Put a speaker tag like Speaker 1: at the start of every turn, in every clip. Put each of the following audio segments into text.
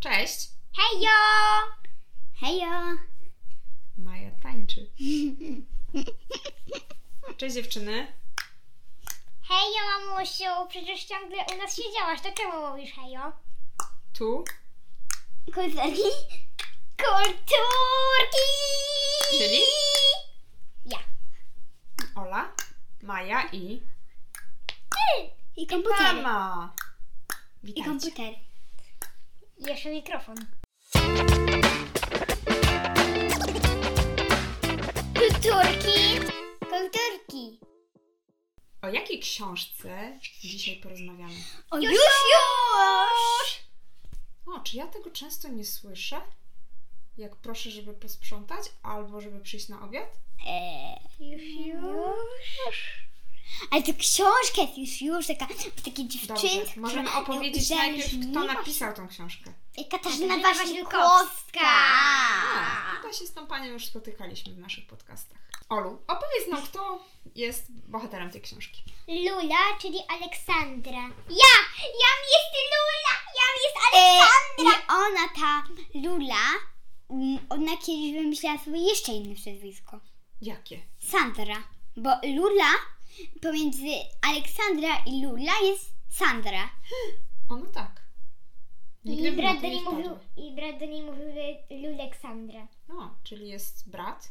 Speaker 1: Cześć!
Speaker 2: Hejo! Hejo!
Speaker 1: Maja tańczy. Cześć dziewczyny.
Speaker 2: Hejo, mamusiu! Przecież ciągle u nas siedziałaś, to czemu mówisz hejo?
Speaker 1: Tu,
Speaker 2: Kulturki? Kulturki!
Speaker 1: czyli
Speaker 2: Ja.
Speaker 1: Ola, Maja i
Speaker 2: I komputer.
Speaker 1: Mama. Witajcie.
Speaker 2: Jeszcze mikrofon. Kulturki! Kulturki!
Speaker 1: O jakiej książce dzisiaj porozmawiamy?
Speaker 2: O, już, już!
Speaker 1: O, czy ja tego często nie słyszę? Jak proszę, żeby posprzątać albo żeby przyjść na obiad?
Speaker 2: E, Już, już. Ale to książka jest już, już, taka, takie
Speaker 1: Dobrze,
Speaker 2: dziewczynka.
Speaker 1: możemy
Speaker 2: która
Speaker 1: opowiedzieć
Speaker 2: ją
Speaker 1: najpierw, kto
Speaker 2: uzależniła
Speaker 1: napisał tą książkę.
Speaker 2: się- Katarzyna
Speaker 3: Katarzyna
Speaker 2: Wasilkowska.
Speaker 1: A, chyba się z tą panią już spotykaliśmy w naszych podcastach. Olu, opowiedz nam, kto jest bohaterem tej książki.
Speaker 2: Lula, czyli Aleksandra. Ja! Jam jest Lula! Jam jest Aleksandra! I E, ona, ta Lula, mm, ona kiedyś wymyślała sobie jeszcze inne przezwisko.
Speaker 1: Jakie?
Speaker 2: Sandra. Bo Lula, pomiędzy Aleksandra i Lula jest Sandra.
Speaker 1: Ono tak.
Speaker 2: No
Speaker 1: Nigdy
Speaker 3: I
Speaker 1: bym na
Speaker 3: brat
Speaker 1: to
Speaker 3: do
Speaker 1: nie
Speaker 3: niej mówił,
Speaker 1: wpadła.
Speaker 3: i brat do niej mówił Le- Luleksandra.
Speaker 1: No, czyli jest brat.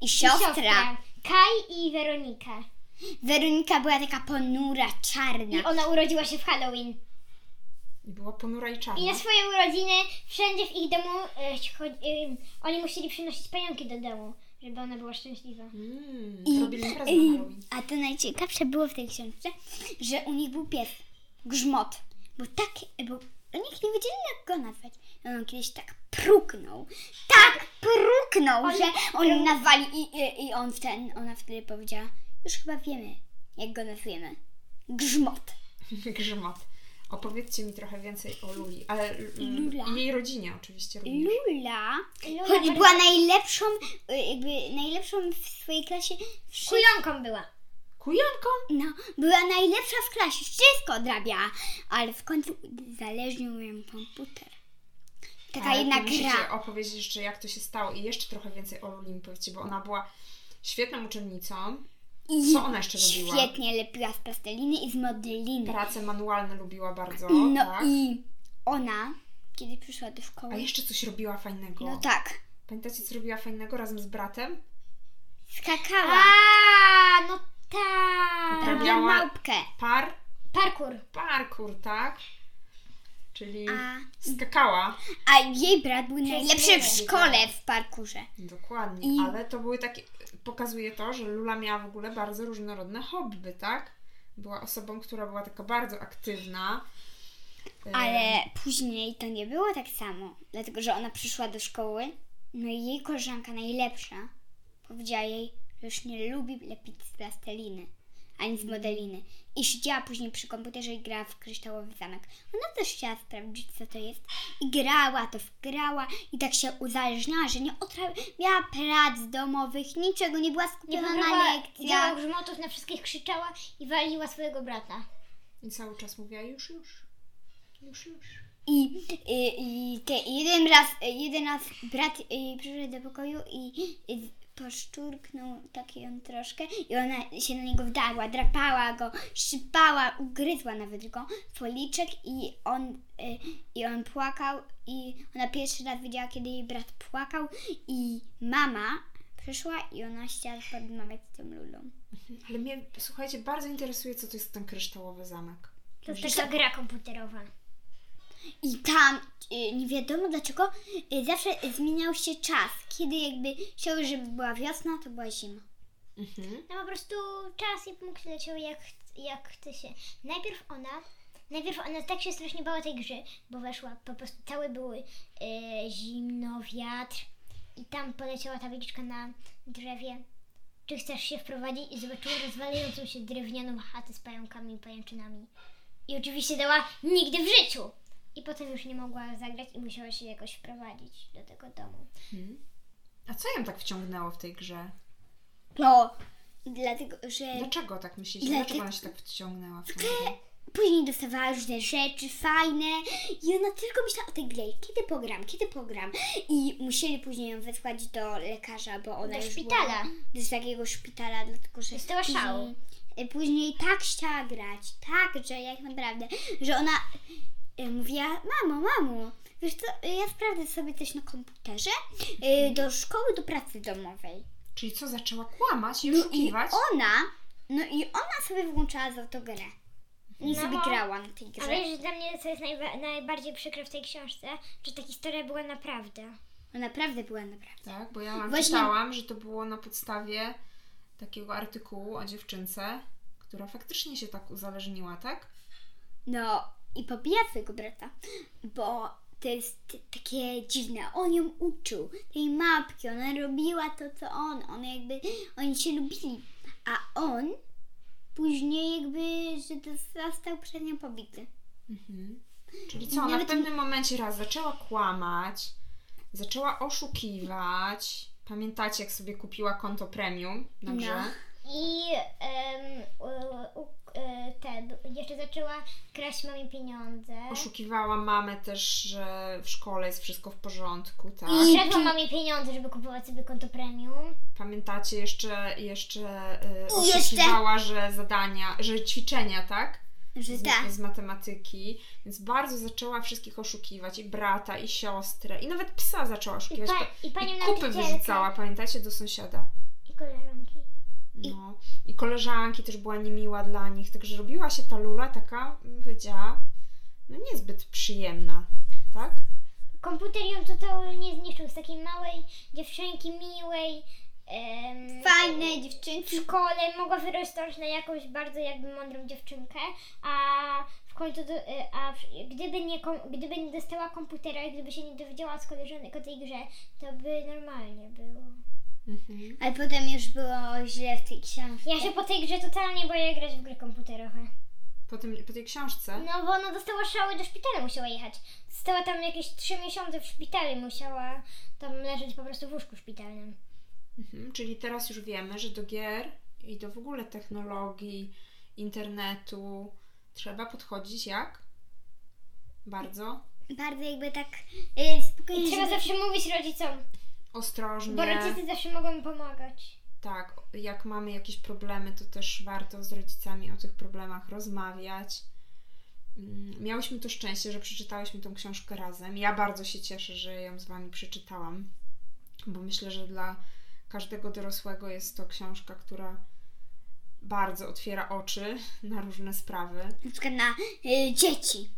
Speaker 2: I
Speaker 3: I
Speaker 2: siostra.
Speaker 3: Kaj i Weronika.
Speaker 2: Weronika była taka ponura,
Speaker 3: I
Speaker 2: czarna.
Speaker 3: ona urodziła się w Halloween.
Speaker 1: I była ponura i
Speaker 3: I
Speaker 1: czarna.
Speaker 3: na swoje urodziny wszędzie w ich domu e, chodzi, e, oni musieli przynosić pająki do domu, żeby ona była szczęśliwa.
Speaker 1: Mm,
Speaker 2: I-
Speaker 1: robili imprezę
Speaker 2: i-
Speaker 1: na Halloween.
Speaker 2: a to najciekawsze było w tej książce, że u nich był pies, grzmot. Bo tak, bo nikt nie wiedzieli jak go nazwać. I on kiedyś tak pruknął. Tak pruknął,
Speaker 3: On-
Speaker 2: że oni
Speaker 3: on-
Speaker 2: nazwali i, i, i on w ten, ona wtedy powiedziała, już chyba wiemy jak go nazwiemy. Grzmot.
Speaker 1: Grzmot. Opowiedzcie mi trochę więcej o Luli, ale mm,
Speaker 2: Lula.
Speaker 1: i jej rodzinie oczywiście również.
Speaker 2: Lula,
Speaker 3: Lula
Speaker 1: tak.
Speaker 2: choć
Speaker 3: bardzo-
Speaker 2: była najlepszą, y, jakby najlepszą w swojej klasie wszy-
Speaker 3: Kujonką była.
Speaker 1: Kujanką?
Speaker 2: No, była najlepsza w klasie, wszystko odrabiała, ale w końcu uzależnił ją komputer. Taka
Speaker 1: Ale
Speaker 2: jedna
Speaker 1: to musicie
Speaker 2: gra.
Speaker 1: opowiedzieć jeszcze jak to się stało i jeszcze trochę więcej o Luli mi powiedzcie, bo ona była świetną uczennicą.
Speaker 2: I
Speaker 1: Co ona jeszcze robiła?
Speaker 2: świetnie lepiła z plasteliny i z modeliny.
Speaker 1: Prace manualne lubiła bardzo,
Speaker 2: No
Speaker 1: tak?
Speaker 2: i ona, kiedy przyszła do
Speaker 1: A
Speaker 2: szkoły,
Speaker 1: jeszcze coś robiła fajnego.
Speaker 2: no tak,
Speaker 1: Pamiętacie, co robiła fajnego razem z bratem?
Speaker 2: skakała,
Speaker 3: A, no tak.
Speaker 2: robiła
Speaker 1: Uprawiała-
Speaker 2: małpkę,
Speaker 1: Par,
Speaker 3: Parkour.
Speaker 1: parkour, tak? Czyli
Speaker 2: a,
Speaker 1: skakała.
Speaker 2: a jej brat był najlepszy w
Speaker 3: wiele.
Speaker 2: szkole w parkurze.
Speaker 1: Dokładnie,
Speaker 2: I-
Speaker 1: ale to były takie. Pokazuje to, że Lula miała w ogóle bardzo różnorodne hobby, tak? Była osobą, która była taka bardzo aktywna. E,
Speaker 2: Ale później to nie było tak samo, dlatego że ona przyszła do szkoły, no i jej koleżanka najlepsza powiedziała jej, że już nie lubi lepić z plasteliny ani
Speaker 3: Mhm.
Speaker 2: z modeliny. I siedziała później przy komputerze i grała w kryształowy zamek. Ona też chciała sprawdzić, co to jest. I grała, to wgrała i tak się uzależniała, że nie otrawiała prac domowych, niczego, nie była
Speaker 3: Nie
Speaker 2: skupiona na
Speaker 3: wybrała wielu
Speaker 2: lekcjach.
Speaker 3: grzmotów, na wszystkich krzyczała i waliła swojego brata.
Speaker 1: I cały czas mówiła już, już. Już, już.
Speaker 2: I, i, i te jeden raz, jeden raz brat y, przyszedł do pokoju i y, poszczurknął tak ją troszkę i ona się na niego wdarła, drapała go, szczypała, ugryzła nawet go w policzek i on, y, i on płakał i ona pierwszy raz widziała, kiedy jej brat płakał i mama przyszła i ona chciała porozmawiać z tą Lulą.
Speaker 1: Ale mnie, słuchajcie, bardzo interesuje, co to jest ten kryształowy zamek.
Speaker 3: To taka gra komputerowa.
Speaker 2: I tam y, nie wiadomo dlaczego y, zawsze zmieniał się czas. Kiedy jakby chciały, żeby była wiosna, to była zima.
Speaker 1: Mhm.
Speaker 3: No po prostu czas i pomógł leciał jak, jak chce się. Najpierw ona, najpierw ona tak się strasznie bała tej grzy, bo weszła, po prostu całe były e, zimno, wiatr i tam poleciała tabliczka na drzewie. Czy chcesz się wprowadzić? I zobaczyła rozwalającą się drewnianą chatę z pająkami i pajęczynami. I oczywiście dała nigdy w życiu! I potem już nie mogła zagrać i musiała się jakoś wprowadzić do tego domu.
Speaker 1: A co ją tak wciągnęło w tej grze?
Speaker 2: No, dlatego, że
Speaker 1: Dlaczego tak myślicie?
Speaker 2: E, Dlatego-
Speaker 1: Dlaczego ona się tak wciągnęła w tę grę?
Speaker 2: Później dostawała różne rzeczy fajne i ona tylko myślała o tej grze, kiedy pogram, kiedy pogram. I musieli później ją wysłać do lekarza, bo ona
Speaker 3: Do
Speaker 2: już
Speaker 3: szpitala.
Speaker 2: Była, do takiego szpitala, dlatego że
Speaker 3: Dostała szału.
Speaker 2: Później, później tak chciała grać, tak, że jak naprawdę, że ona y, mówiła, mamo, mamo, wiesz co, y, ja sprawdzę sobie coś na komputerze y, do szkoły, do pracy domowej.
Speaker 1: Czyli co, zaczęła kłamać i
Speaker 2: No i
Speaker 1: oszukiwać?
Speaker 2: ona, no i ona sobie wyłączała za to grę. I
Speaker 3: No
Speaker 2: sobie
Speaker 3: bo-
Speaker 2: grała na tej
Speaker 3: A
Speaker 2: grze.
Speaker 3: wiesz, że dla mnie co jest najwa- najbardziej przykre w tej książce, że ta historia była naprawdę.
Speaker 2: Ona naprawdę była naprawdę.
Speaker 1: Tak, bo ja mam
Speaker 2: Właśnie-
Speaker 1: czytałam, że to było na podstawie takiego artykułu o dziewczynce, która faktycznie się tak uzależniła, tak?
Speaker 2: No i pobija swojego brata, bo to jest takie dziwne. On ją uczył tej mapki, ona robiła to, co on. Ona jakby, oni się lubili. A on później jakby, że dos- został przez nią pobity.
Speaker 1: Mhm. Czyli co, ona w
Speaker 2: Nawet-
Speaker 1: pewnym momencie raz zaczęła kłamać, zaczęła oszukiwać. Pamiętacie, jak sobie kupiła konto premium na grze?
Speaker 2: No.
Speaker 3: I em, u- u- e, te, b- jeszcze zaczęła kraść mamie pieniądze.
Speaker 1: Oszukiwała mamę też, że w szkole jest wszystko w porządku, tak?
Speaker 2: I-
Speaker 3: Kradła mamie pieniądze, żeby kupować sobie konto premium.
Speaker 1: Pamiętacie jeszcze, jeszcze y,
Speaker 2: I jeszcze-
Speaker 1: oszukiwała, że zadania, że ćwiczenia, tak?
Speaker 2: Że
Speaker 1: z,
Speaker 2: tak.
Speaker 1: z matematyki, więc bardzo zaczęła wszystkich oszukiwać, i brata, i siostrę, i nawet psa zaczęła
Speaker 3: I,
Speaker 1: oszukiwać.
Speaker 3: pa,
Speaker 1: Pa-
Speaker 3: i panią
Speaker 1: I kupy
Speaker 3: nauczycielkę.
Speaker 1: wyrzucała, pamiętacie, do sąsiada.
Speaker 3: I koleżanki.
Speaker 1: No. I koleżanki też była niemiła dla nich, także robiła się ta lula taka, bym powiedziała, no niezbyt przyjemna, tak?
Speaker 3: Komputer ją totalnie zniszczył z takiej małej dziewczynki, miłej. em,
Speaker 2: Fajne
Speaker 3: w
Speaker 2: dziewczynki.
Speaker 3: szkole mogła wyrosnąć na jakąś bardzo jakby mądrą dziewczynkę, a w końcu, do, y, a w- gdyby, nie, kom- gdyby nie dostała komputera i gdyby się nie dowiedziała z koleżanek o tej grze, to by normalnie było.
Speaker 1: Mhm.
Speaker 2: Ale potem już było źle w tej książce.
Speaker 3: Ja się po tej grze totalnie boję grać w gry komputerowe.
Speaker 1: Po, tym, po tej książce
Speaker 3: No bo ona dostała szały, do szpitala musiała jechać. Została tam jakieś 3 miesiące w szpitalu i musiała tam leżeć po prostu w łóżku szpitalnym.
Speaker 1: Mhm, Czyli teraz już wiemy, że do gier i do w ogóle technologii, internetu trzeba podchodzić jak? Bardzo
Speaker 2: Bardzo jakby tak y, spokojnie.
Speaker 3: I trzeba
Speaker 2: żeby-
Speaker 3: zawsze mówić rodzicom,
Speaker 1: ostrożnie.
Speaker 3: bo rodzice zawsze mogą pomagać.
Speaker 1: Tak, jak mamy jakieś problemy, to też warto z rodzicami o tych problemach rozmawiać. Mm, Miałyśmy to szczęście, że przeczytałyśmy tą książkę razem. Ja bardzo się cieszę, że ją z Wami przeczytałam, bo myślę, że dla każdego dorosłego jest to książka, która bardzo otwiera oczy na różne sprawy.
Speaker 2: na przykład na y, dzieci.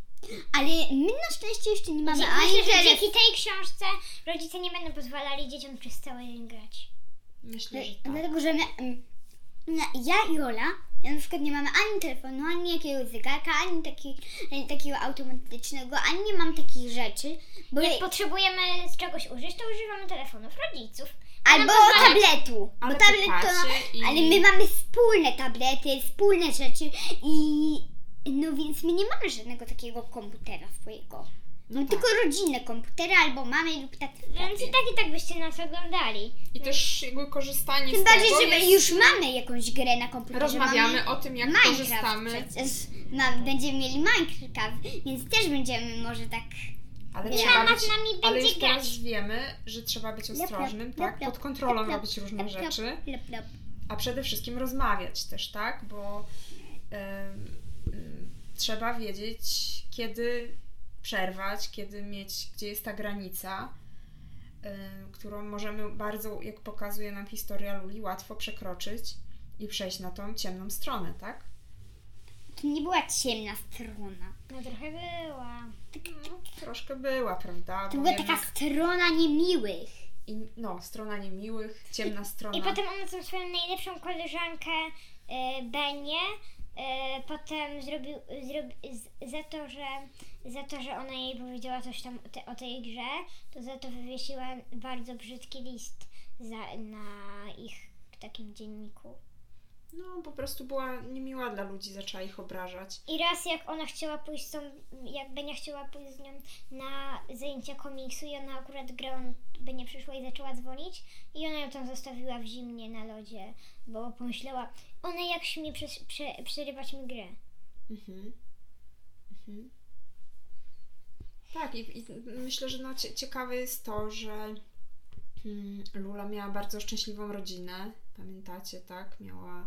Speaker 2: Ale my na szczęście jeszcze nie mamy
Speaker 3: Dzie-
Speaker 2: ani
Speaker 3: Myślę, że
Speaker 2: telefonu.
Speaker 3: dzięki tej książce rodzice nie będą pozwalali dzieciom przez cały dzień grać.
Speaker 1: Myślę, że tak.
Speaker 2: Dlatego, że my, mm, no, ja i Ola ja na przykład nie mamy ani telefonu, ani jakiegoś zegarka, ani, taki, ani takiego automatycznego, ani nie mam takich rzeczy. Bo
Speaker 3: Jak potrzebujemy z czegoś użyć, to używamy telefonów rodziców.
Speaker 2: albo
Speaker 3: pozwala-
Speaker 2: tabletu.
Speaker 1: Ale
Speaker 2: bo tablet to,
Speaker 1: pytacie i-
Speaker 2: Ale my mamy wspólne tablety, wspólne rzeczy i... No więc my nie mamy żadnego takiego komputera swojego.
Speaker 1: No tak.
Speaker 2: Tylko rodzinne komputery albo mamy lub taty.
Speaker 3: Więc i tak i tak byście nas oglądali.
Speaker 1: I też jego korzystanie
Speaker 2: Tym
Speaker 1: z
Speaker 2: bardziej,
Speaker 1: tego
Speaker 2: że my
Speaker 1: jest...
Speaker 2: już mamy jakąś grę na komputerze.
Speaker 1: Rozmawiamy
Speaker 2: mamy
Speaker 1: o tym, jak
Speaker 2: Minecraft
Speaker 1: korzystamy.
Speaker 2: Przecież mam, będziemy mieli Minecraft, więc też będziemy może tak.
Speaker 1: Ale
Speaker 3: Nie,
Speaker 1: trzeba
Speaker 3: mama
Speaker 1: być,
Speaker 3: z nami
Speaker 1: ale
Speaker 3: będzie
Speaker 1: już teraz wiemy, że trzeba być
Speaker 2: lop,
Speaker 1: ostrożnym,
Speaker 2: lop,
Speaker 1: tak?
Speaker 2: lop, lop,
Speaker 1: Pod kontrolą
Speaker 2: lop, lop,
Speaker 1: robić różne
Speaker 2: lop, lop,
Speaker 1: rzeczy,
Speaker 2: Lop, lop.
Speaker 1: a przede wszystkim rozmawiać też, tak? Bo em, em, trzeba wiedzieć, kiedy przerwać, kiedy mieć, gdzie jest ta granica, em, którą możemy bardzo, jak pokazuje nam historia Luli, łatwo przekroczyć i przejść na tą ciemną stronę, tak?
Speaker 2: To nie była ciemna strona.
Speaker 3: No trochę była. Tak.
Speaker 1: No, troszkę była, prawda?
Speaker 2: To
Speaker 1: Bo
Speaker 2: była
Speaker 1: jednak-
Speaker 2: taka strona niemiłych.
Speaker 1: i, no, strona niemiłych, ciemna strona.
Speaker 3: I potem ona tą swoją najlepszą koleżankę e, Benię e, potem zrobił zrobi, z, za to, że za to, że ona jej powiedziała coś tam o, te, o tej grze, to za to wywiesiła bardzo brzydki list za, na ich takim dzienniku.
Speaker 1: No, po prostu była niemiła dla ludzi, zaczęła ich obrażać.
Speaker 3: I raz jak ona chciała pójść z tą, jak Benia chciała pójść z nią na zajęcia komiksu i ona akurat grała, Benia przyszła i zaczęła dzwonić i ona ją tam zostawiła w zimnie na lodzie, bo pomyślała, ona jak śmie prze, prze, przerywać mi grę.
Speaker 1: Mhm. Mhm. Tak, i, i myślę, że no, cie, ciekawe jest to, że mm, Lula miała bardzo szczęśliwą rodzinę. Pamiętacie, tak? Miała.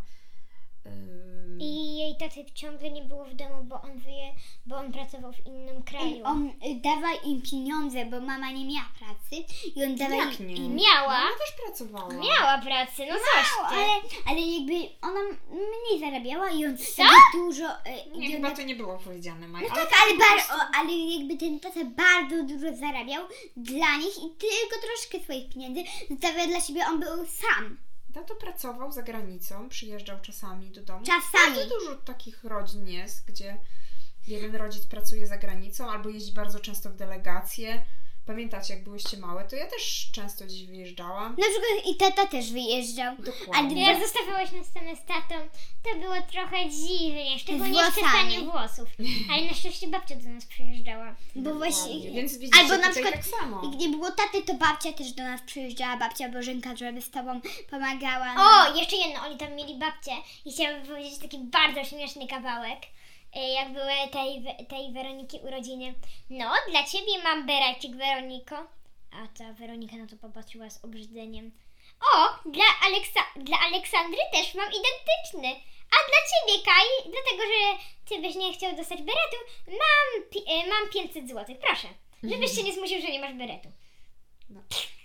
Speaker 1: ym,
Speaker 3: I jej taty ciągle nie było w domu, bo on wyje, bo on pracował w innym
Speaker 2: Ej,
Speaker 3: kraju.
Speaker 2: on y, dawał im pieniądze, bo mama nie miała pracy i on dawał
Speaker 1: Jak
Speaker 2: im...
Speaker 1: nie?
Speaker 2: im-
Speaker 3: Miała,
Speaker 1: Ona też pracowała.
Speaker 3: miała pracę, no coś ty.
Speaker 2: ale, ale jakby ona mniej zarabiała i on
Speaker 3: Co?
Speaker 2: jakby dużo... y,
Speaker 1: Nie,
Speaker 2: i on
Speaker 1: chyba
Speaker 2: tak-
Speaker 1: to nie było powiedziane, Maja.
Speaker 2: Tak, ale, bar- o, ale jakby ten tata bardzo dużo zarabiał dla nich i tylko troszkę swoich pieniędzy zostawiał dla siebie, on był sam.
Speaker 1: Tato pracował za granicą, przyjeżdżał czasami do domu.
Speaker 2: Czasami.
Speaker 1: Bardzo dużo takich rodzin jest, gdzie jeden rodzic pracuje za granicą albo jeździ bardzo często w delegacje. Pamiętacie, jak byłyście małe, to ja też często gdzieś wyjeżdżałam.
Speaker 2: Na przykład i tata też wyjeżdżał.
Speaker 1: Dokładnie.
Speaker 3: Jak zostawiałaś nas same z tatą, to było trochę dziwnie, szczególnie w
Speaker 2: włosami.
Speaker 3: czesaniu włosów. Ale na szczęście babcia do nas przyjeżdżała.
Speaker 2: Bo
Speaker 1: Dokładnie.
Speaker 2: właśnie.
Speaker 1: Więc widzicie,
Speaker 2: albo na
Speaker 1: tutaj
Speaker 2: przykład-
Speaker 1: tak samo.
Speaker 2: I gdy było taty, to babcia też do nas przyjeżdżała, babcia Bożenka, żeby z tobą pomagała.
Speaker 3: O, jeszcze jedno, oni tam mieli babcię i chciałabym powiedzieć taki bardzo śmieszny kawałek, e, jak były tej, We- tej Weroniki urodziny. No, dla ciebie mam berecik, Weroniko. A ta Weronika na to popatrzyła z obrzydzeniem. O, dla, Aleksa dla Aleksandry też mam identyczny. A dla ciebie, Kai, dlatego, że ty byś nie chciał dostać beretu, mam, pi- e, mam 500 zł, proszę. Żebyś się nie zmusił, że nie masz beretu.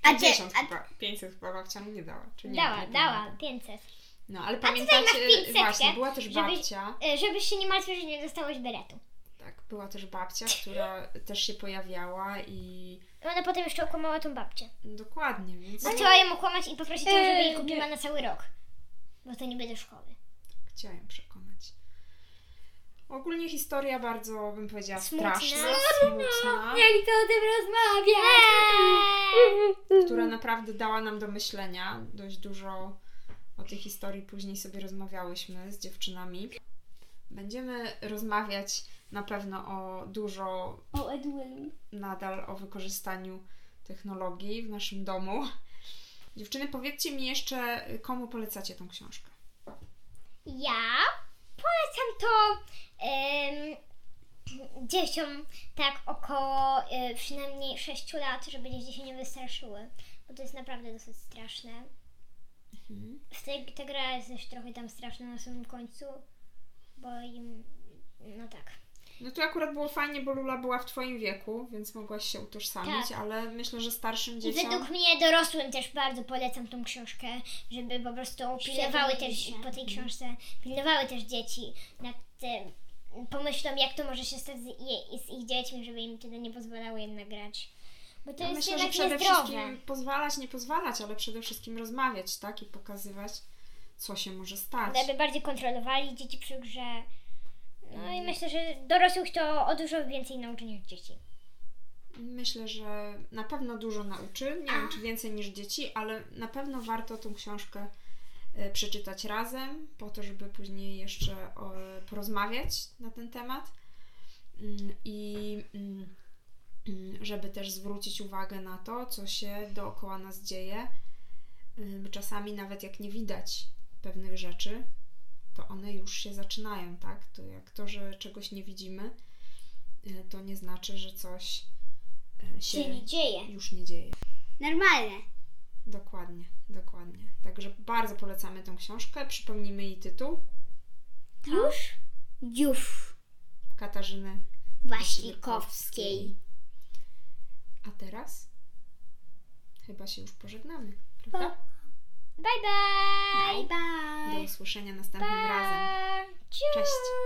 Speaker 2: a, te,
Speaker 1: 50
Speaker 2: a,
Speaker 1: chyba, 500 chyba babcia mu nie dała. Czy nie,
Speaker 3: dała,
Speaker 1: nie
Speaker 3: dała,
Speaker 1: pamiętam.
Speaker 3: 500.
Speaker 1: No, ale
Speaker 3: tutaj
Speaker 1: pamiętacie,
Speaker 3: masz 500,
Speaker 1: właśnie, była też
Speaker 3: żebyś-
Speaker 1: babcia.
Speaker 3: E, Żebyś się nie martwił, że nie dostałeś beretu.
Speaker 1: Tak, była też babcia, która też się pojawiała i...
Speaker 3: Ona potem jeszcze okłamała tą babcię.
Speaker 1: Dokładnie, więc...
Speaker 3: Bo chciała ją okłamać i poprosić ją, żeby jej
Speaker 2: Eee,
Speaker 3: kupiła na cały rok. Bo to niby do szkoły.
Speaker 1: Chciała ją przekonać. Ogólnie historia bardzo, bym powiedziała,
Speaker 3: Smutna.
Speaker 1: straszna, smutna,
Speaker 2: jak to o tym rozmawiać?
Speaker 3: Eee.
Speaker 1: która naprawdę dała nam do myślenia. Dość dużo o tej historii później sobie rozmawiałyśmy z dziewczynami. Będziemy rozmawiać na pewno o dużo
Speaker 2: O Edwin.
Speaker 1: nadal o wykorzystaniu technologii w naszym domu. Dziewczyny, powiedzcie mi jeszcze, komu polecacie tą książkę?
Speaker 3: Ja polecam to em, dzieciom tak około e, przynajmniej 6 lat, żeby dzieci się nie wystraszyły. Bo to jest naprawdę dosyć straszne. W tej, ta gra jest też trochę tam straszna na samym końcu. Bo im... No tak.
Speaker 1: No to akurat było fajnie, bo Lula była w Twoim wieku, więc mogłaś się utożsamić, ale myślę, że starszym
Speaker 3: Tak. I
Speaker 1: dzieciom...
Speaker 3: według mnie dorosłym też bardzo polecam tą książkę, żeby po prostu pilnowały też
Speaker 2: się.
Speaker 3: po tej książce, pilnowały też dzieci nad tym, pomyślą jak to może się stać z, je, z ich dziećmi, żeby im tyle nie pozwalało jednak grać. Bo to
Speaker 1: Ja
Speaker 3: jest
Speaker 1: myślę, że
Speaker 3: jednak
Speaker 1: przede
Speaker 3: niezdrowe.
Speaker 1: wszystkim pozwalać, nie pozwalać, ale przede wszystkim rozmawiać, tak? I pokazywać, co się może stać.
Speaker 3: Żeby bardziej kontrolowali dzieci przy grze. No i myślę, że dorosłych to o dużo więcej nauczy niż dzieci.
Speaker 1: Myślę, że na pewno dużo nauczy. Nie wiem, czy więcej niż dzieci, ale na pewno warto tą książkę e, przeczytać razem, po to, żeby później jeszcze e, porozmawiać na ten temat Mm, i mm, mm, żeby też zwrócić uwagę na to, co się dookoła nas dzieje. Ym, Czasami nawet jak nie widać pewnych rzeczy, to one już się zaczynają, tak? To jak to, że czegoś nie widzimy, y, to nie znaczy, że coś y, się
Speaker 3: Czyli dzieje.
Speaker 1: już nie dzieje.
Speaker 2: Normalne.
Speaker 1: Dokładnie, dokładnie. Także bardzo polecamy tą książkę. Przypomnijmy jej tytuł
Speaker 2: Już? Już.
Speaker 1: Katarzyny
Speaker 2: Waślikowskiej.
Speaker 1: A teraz chyba się już pożegnamy,
Speaker 2: Pa.
Speaker 1: prawda?
Speaker 3: Bye bye!
Speaker 2: Bye
Speaker 1: Do
Speaker 2: bye.
Speaker 1: usłyszenia następnym razem.
Speaker 3: bye.
Speaker 1: Cześć!